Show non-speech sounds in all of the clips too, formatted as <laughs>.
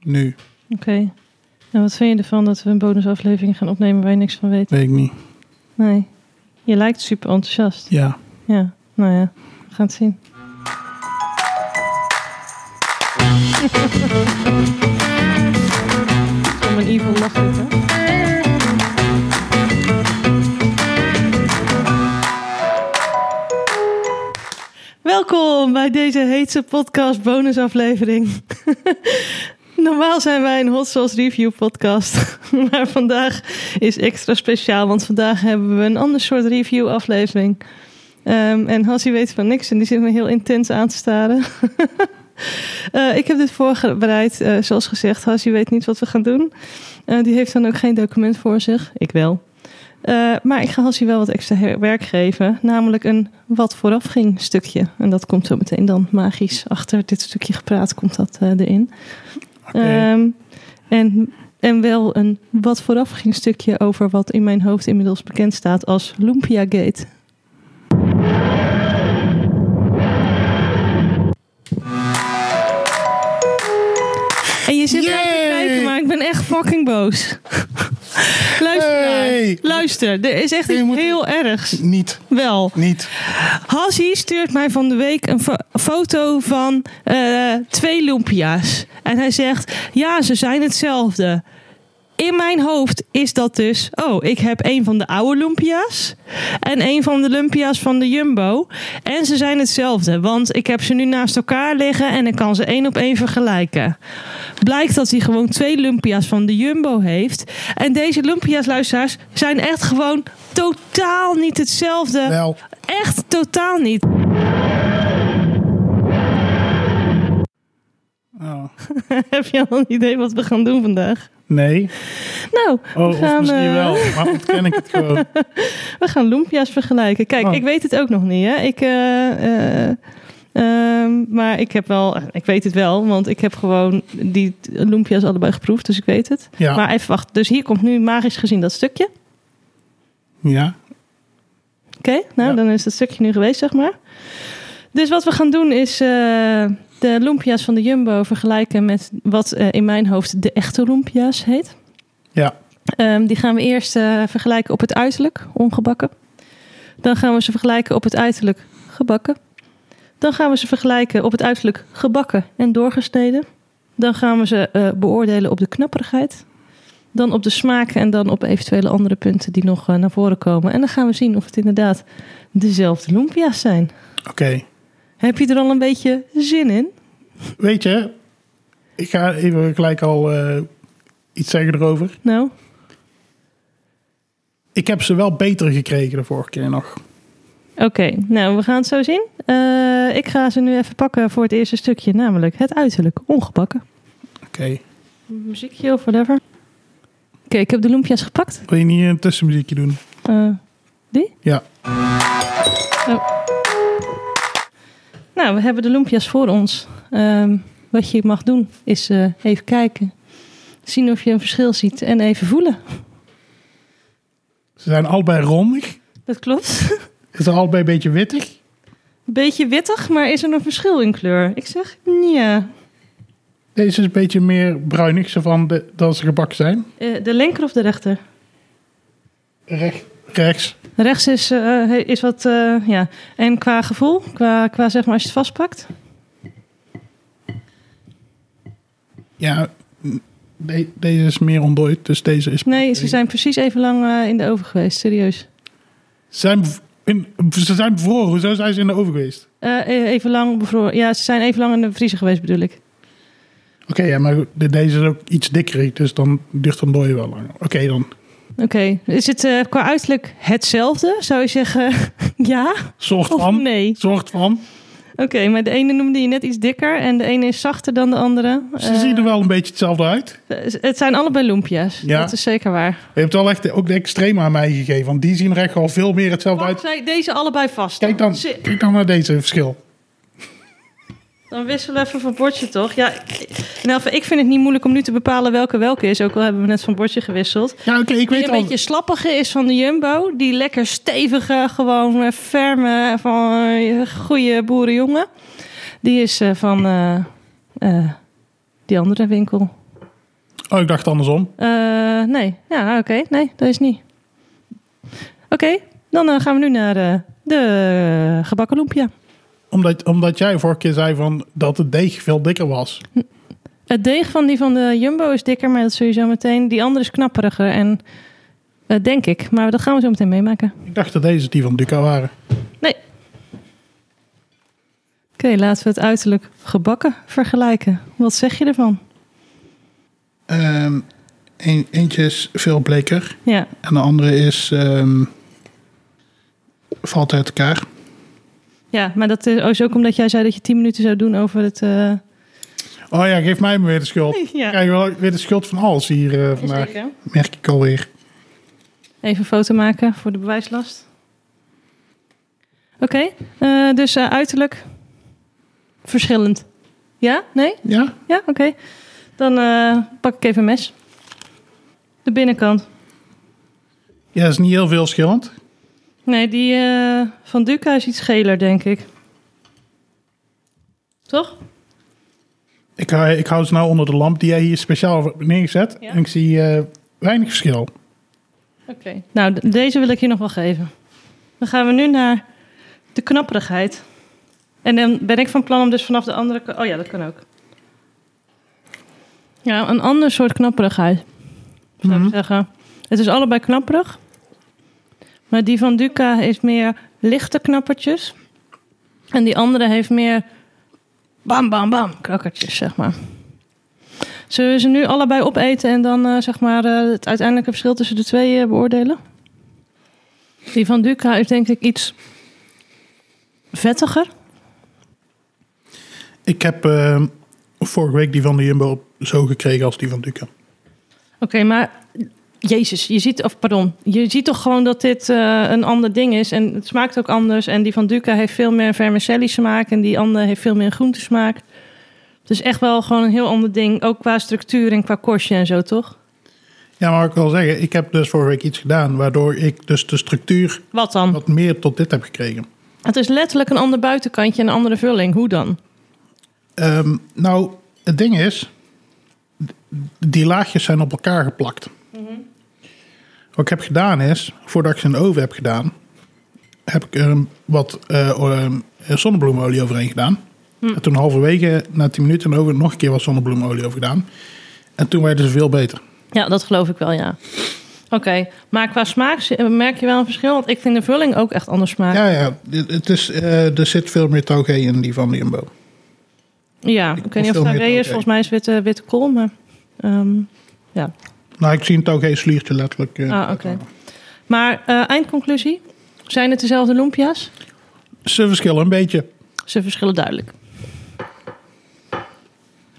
Nu. Oké. En wat vind je ervan dat we een bonusaflevering gaan opnemen waar je niks van weet? Weet ik niet. Nee. Je lijkt super enthousiast. Ja. Ja, nou ja. We gaan het zien. <laughs> Om een evil lach dit, hè? Welkom bij deze heetse podcast bonusaflevering. <laughs> Normaal zijn wij een Hot Sauce Review podcast. <laughs> Maar vandaag is extra speciaal, want vandaag hebben we een ander soort review aflevering. Ehm, en Hassie weet van niks en die zit me heel intens aan te staren. <laughs> Eh, ik heb dit voorbereid, eh, zoals gezegd. Hassie weet niet wat we gaan doen. Eh, die heeft dan ook geen document voor zich. Ik wel. Eh, maar ik ga Hassie wel wat extra her- werk geven. Namelijk een wat vooraf ging stukje. En dat komt zo meteen dan magisch. Achter dit stukje gepraat komt dat eh, erin. Oké. Ehm, en, en wel een wat vooraf ging stukje over wat in mijn hoofd inmiddels bekend staat als Lumpia Gate. En je zit naar te Yay! kijken, maar ik ben echt fucking <laughs> boos. luister, Hey! luister, er is echt Je iets moet- heel ergs. Niet. Wel. Niet. Hassie stuurt mij van de week een fo- foto van eh, twee lumpia's. En hij zegt, ja, ze zijn hetzelfde. In mijn hoofd is dat dus, oh, ik heb een van de oude lumpia's en een van de lumpia's van de Jumbo. En ze zijn hetzelfde, want ik heb ze nu naast elkaar liggen en ik kan ze één op één vergelijken. Blijkt dat hij gewoon twee lumpia's van de Jumbo heeft. En deze lumpia's, luisteraars, zijn echt gewoon totaal niet hetzelfde. Wel. Echt totaal niet. Oh. <laughs> Heb je al een idee wat we gaan doen vandaag? Nee. Nou, Oh, we, of gaan, misschien eh, wel. Maar ontken ik het gewoon. we gaan lumpia's vergelijken. Kijk, Oh. ik weet het ook nog niet. Hè? Ik, eh, eh, ehm, maar ik heb wel, ik weet het wel, want ik heb gewoon die lumpia's allebei geproefd, dus ik weet het. Ja. Maar even wachten. Dus hier komt nu magisch gezien dat stukje. Ja. Oké, nou Ja. dan is dat stukje nu geweest, zeg maar. Dus wat we gaan doen is eh, de lumpia's van de Jumbo vergelijken met wat eh, in mijn hoofd de echte lumpia's heet. Ja. Ehm, die gaan we eerst eh, vergelijken op het uiterlijk, ongebakken. Dan gaan we ze vergelijken op het uiterlijk, gebakken. Dan gaan we ze vergelijken op het uiterlijk, gebakken en doorgesneden. Dan gaan we ze eh, beoordelen op de knapperigheid. Dan op de smaak en dan op eventuele andere punten die nog eh, naar voren komen. En dan gaan we zien of het inderdaad dezelfde lumpia's zijn. Oké. Heb je er al een beetje zin in? Weet je, ik ga even gelijk al eh, iets zeggen erover. Nou, Ik heb ze wel beter gekregen de vorige keer nog. oké. Nou, we gaan het zo zien. Eh, ik ga ze nu even pakken voor het eerste stukje, namelijk het uiterlijk, ongebakken. Oké. Muziekje of whatever. Oké, ik heb de loempjes gepakt. Wil je niet een tussenmuziekje doen? Eh, die? Oh. Ja. Nou, we hebben de loempjes voor ons. Ehm, wat je mag doen is eh, even kijken. Zien of je een verschil ziet en even voelen. Ze zijn allebei rondig. Dat klopt. <laughs> Ze zijn allebei een beetje wittig. Beetje wittig, maar is er een verschil in kleur? Ik zeg, ja. Deze is een beetje meer bruinig, zo van de, dat ze gebakken zijn. Eh, de linker of de rechter? Recht, rechts. Rechts is, eh, is wat, eh, ja. En qua gevoel, qua, qua zeg maar als je het vastpakt. Ja, de- deze is meer ontdooid, dus deze is... Nee, ze zijn precies even lang eh, in de oven geweest, serieus. Ze zijn, bev- in, ze zijn bevroren, hoezo zijn ze in de oven geweest? Eh, eh, even lang bevroren. Ja, ze zijn even lang in de vriezer geweest, bedoel ik. Oké, ja, maar goed, de- deze is ook iets dikker, dus dan duurt dan dooien wel langer. Oké, dan. Oké, is het eh, qua uiterlijk hetzelfde? Zou je zeggen <laughs> ja Soort of van. nee? Soort van. Oké, maar de ene noemde je net iets dikker en de ene is zachter dan de andere. Ze Eh, zien er wel een beetje hetzelfde uit. eh, Het zijn allebei lumpia's, Ja. dat is zeker waar. Je hebt wel echt de- ook de extreme aan mij gegeven, want die zien er echt al veel meer hetzelfde Pak uit. zij deze allebei vast. Kijk dan, Zi- kijk dan naar deze verschil. Dan wisselen we even van bordje, toch? Ja, nou, ik vind het niet moeilijk om nu te bepalen welke welke is. Ook al hebben we net van bordje gewisseld. Ja, oké, ik Die weet een al. beetje slappige is van de Jumbo. Die lekker stevige, gewoon eh, ferme, van eh, goede boerenjongen. Die is eh, van eh, eh, die andere winkel. Oh, ik dacht andersom. Eh, nee, ja, oké. Nee, dat is niet. Oké, dan eh, gaan we nu naar eh, de gebakken lumpia. Omdat, omdat jij vorige keer zei van dat het deeg veel dikker was. Het deeg van die van de Jumbo is dikker, maar dat zul je zo meteen. Die andere is knapperiger en eh, denk ik. Maar dat gaan we zo meteen meemaken. Ik dacht dat deze die van Duca waren. Nee. Oké, laten we het uiterlijk gebakken vergelijken. Wat zeg je ervan? Ehm, een- eentje is veel bleker. Ja, En de andere is... ehm, valt uit elkaar. ja maar dat is ook omdat jij zei dat je 10 minuten zou doen over het. eh, Oh ja, geef mij maar weer de schuld. Ja. Ik krijg wel weer de schuld van alles hier eh, vandaag. Merk ik alweer. Even een foto maken voor de bewijslast. Oké, eh, dus eh, uiterlijk verschillend. Ja? Nee? Ja? Ja, oké. Dan eh, pak ik even een mes. De binnenkant. Ja, dat is niet heel veel verschillend. Nee, die eh, van Duca is iets geler, denk ik. Toch? Ik, hou- ik hou ze nou onder de lamp die jij hier speciaal voor hebt neergezet. Ja. En ik zie eh, weinig verschil. Oké. Nou, de- deze wil ik je nog wel geven. Dan gaan we nu naar de knapperigheid. En dan ben ik van plan om dus vanaf de andere... ka- Oh ja, dat kan ook. Ja, een ander soort knapperigheid. Zou Mhm. ik zeggen. Het is allebei knapperig. Maar die van Duca is meer lichte knappertjes. En die andere heeft meer... Bam, bam, bam. Knakkertjes, zeg maar. Zullen we ze nu allebei opeten en dan eh, zeg maar, eh, het uiteindelijke verschil tussen de twee eh, beoordelen? Die van Duca is denk ik iets vettiger. Ik heb eh, vorige week die van de Jumbo op zo gekregen als die van Duca. Oké, maar Jezus, je ziet, of pardon, je ziet toch gewoon dat dit eh, een ander ding is en het smaakt ook anders. En die van Duca heeft veel meer vermicelli smaak en die andere heeft veel meer groentesmaak. Het is echt wel gewoon een heel ander ding, ook qua structuur en qua korstje en zo, toch? Ja, maar wat ik wil zeggen, ik heb dus vorige week iets gedaan... waardoor ik dus de structuur Wat dan? wat meer tot dit heb gekregen. Het is letterlijk een ander buitenkantje en een andere vulling. Hoe dan? Ehm, nou, het ding is, d- die laagjes zijn op elkaar geplakt. Mhm. Wat ik heb gedaan is, voordat ik ze in de oven heb gedaan, heb ik er een- wat eh, o- ehm, zonnebloemolie overheen gedaan. Mhm. En toen halverwege, na 10 minuten in de oven, nog een keer wat zonnebloemolie over gedaan. En toen werden ze veel beter. Ja, dat geloof ik wel, ja. Oké, maar qua smaak zi- merk je wel een verschil? Want ik vind de vulling ook echt anders smaak. Ja, Ja, ja, dit- het is, eh, er zit veel meer toge in die van de Jumbo. ik, Ik weet niet of veel het meer is. dan, Volgens mij is witte, witte kool, maar... ehm, ja. Nou, ik zie een toge sliertje letterlijk. eh, Ah, oké. Maar eh, eindconclusie? Zijn het dezelfde lumpia's? Ze verschillen een beetje. Ze verschillen duidelijk.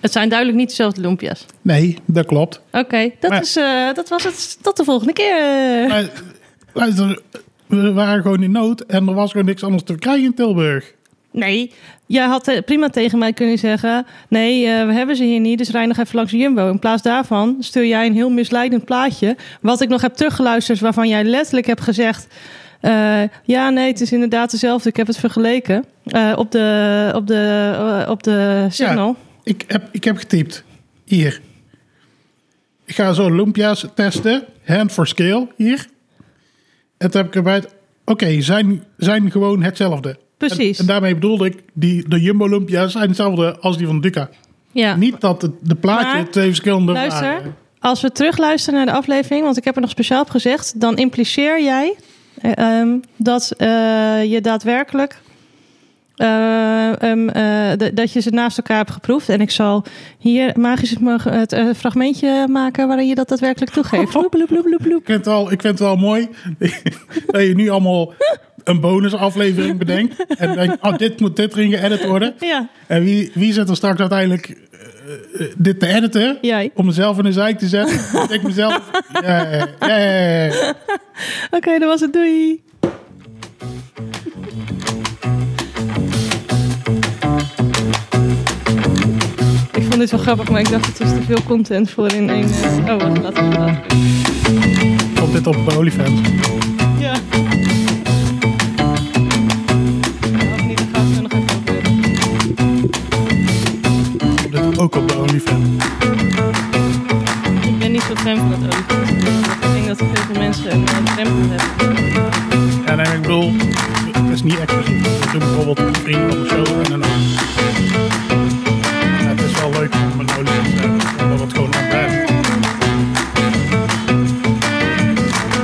Het zijn duidelijk niet dezelfde lumpia's. Nee, dat klopt. Oké, dat, Maar- is, eh, dat was het. Tot de volgende keer. Maar, luister, we waren gewoon in nood en er was gewoon niks anders te krijgen in Tilburg. Nee, jij had eh, prima tegen mij kunnen zeggen... nee, eh, we hebben ze hier niet, dus rij nog even langs de Jumbo. In plaats daarvan stuur jij een heel misleidend plaatje... wat ik nog heb teruggeluisterd, waarvan jij letterlijk hebt gezegd... eh, ja, nee, het is inderdaad dezelfde, ik heb het vergeleken... eh, op de, op de, eh, op de signal. Ik heb, ik heb getypt. Hier. Ik ga zo lumpia's testen. Hand for scale. Hier. En toen heb ik erbij... het- Oké, zijn, zijn gewoon hetzelfde. Precies. En, en daarmee bedoelde ik, die, de Jumbo lumpia's zijn hetzelfde als die van Duca. Ja. Niet dat het, de plaatje Maar, twee verschillende Luister, waren. als we terugluisteren naar de aflevering, want ik heb er nog speciaal op gezegd, dan impliceer jij eh, ehm, dat eh, je daadwerkelijk. eh, ehm, eh, d- dat je ze naast elkaar hebt geproefd. En ik zal hier magisch het, mag- het eh, fragmentje maken waarin je dat daadwerkelijk toegeeft. Bloep, bloep, bloep, bloep, bloep. Ik vind, het wel, ik vind het wel mooi <laughs> dat je nu allemaal een bonusaflevering bedenkt. En denkt, oh, dit moet dit erin geëdit worden. Ja, En wie, wie zet er straks uiteindelijk eh, eh, dit te editen? jij. Om mezelf in de zeik te zetten. Dat ik mezelf. <laughs> Ja, ja, ja, ja, ja. Oké, dat was het. Doei. Ik vond dit wel grappig, maar ik dacht het is te veel content voor in één. eh, Oh, wacht, laten we dat. Komt dit op bij Olifant? Ja. Of niet, dan gaan we nog even proberen. Komt dit ook op bij Olifant? niet zo drempel met oliekoekjes. Ik denk dat er veel mensen een eh, drempel hebben. Ja, nee, ik bedoel, het is niet exclusief. Ik doe bijvoorbeeld een vriend of zo en dan... Ja, het is wel leuk om een olie te hebben, omdat het gewoon lang blijft.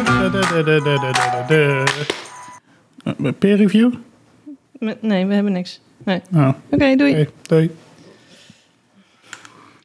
Da, da, da, da, da, da, da, da. Eh, Peer review? Met- nee, we hebben niks. Nee. Nou, Oké, doei. oké, doei.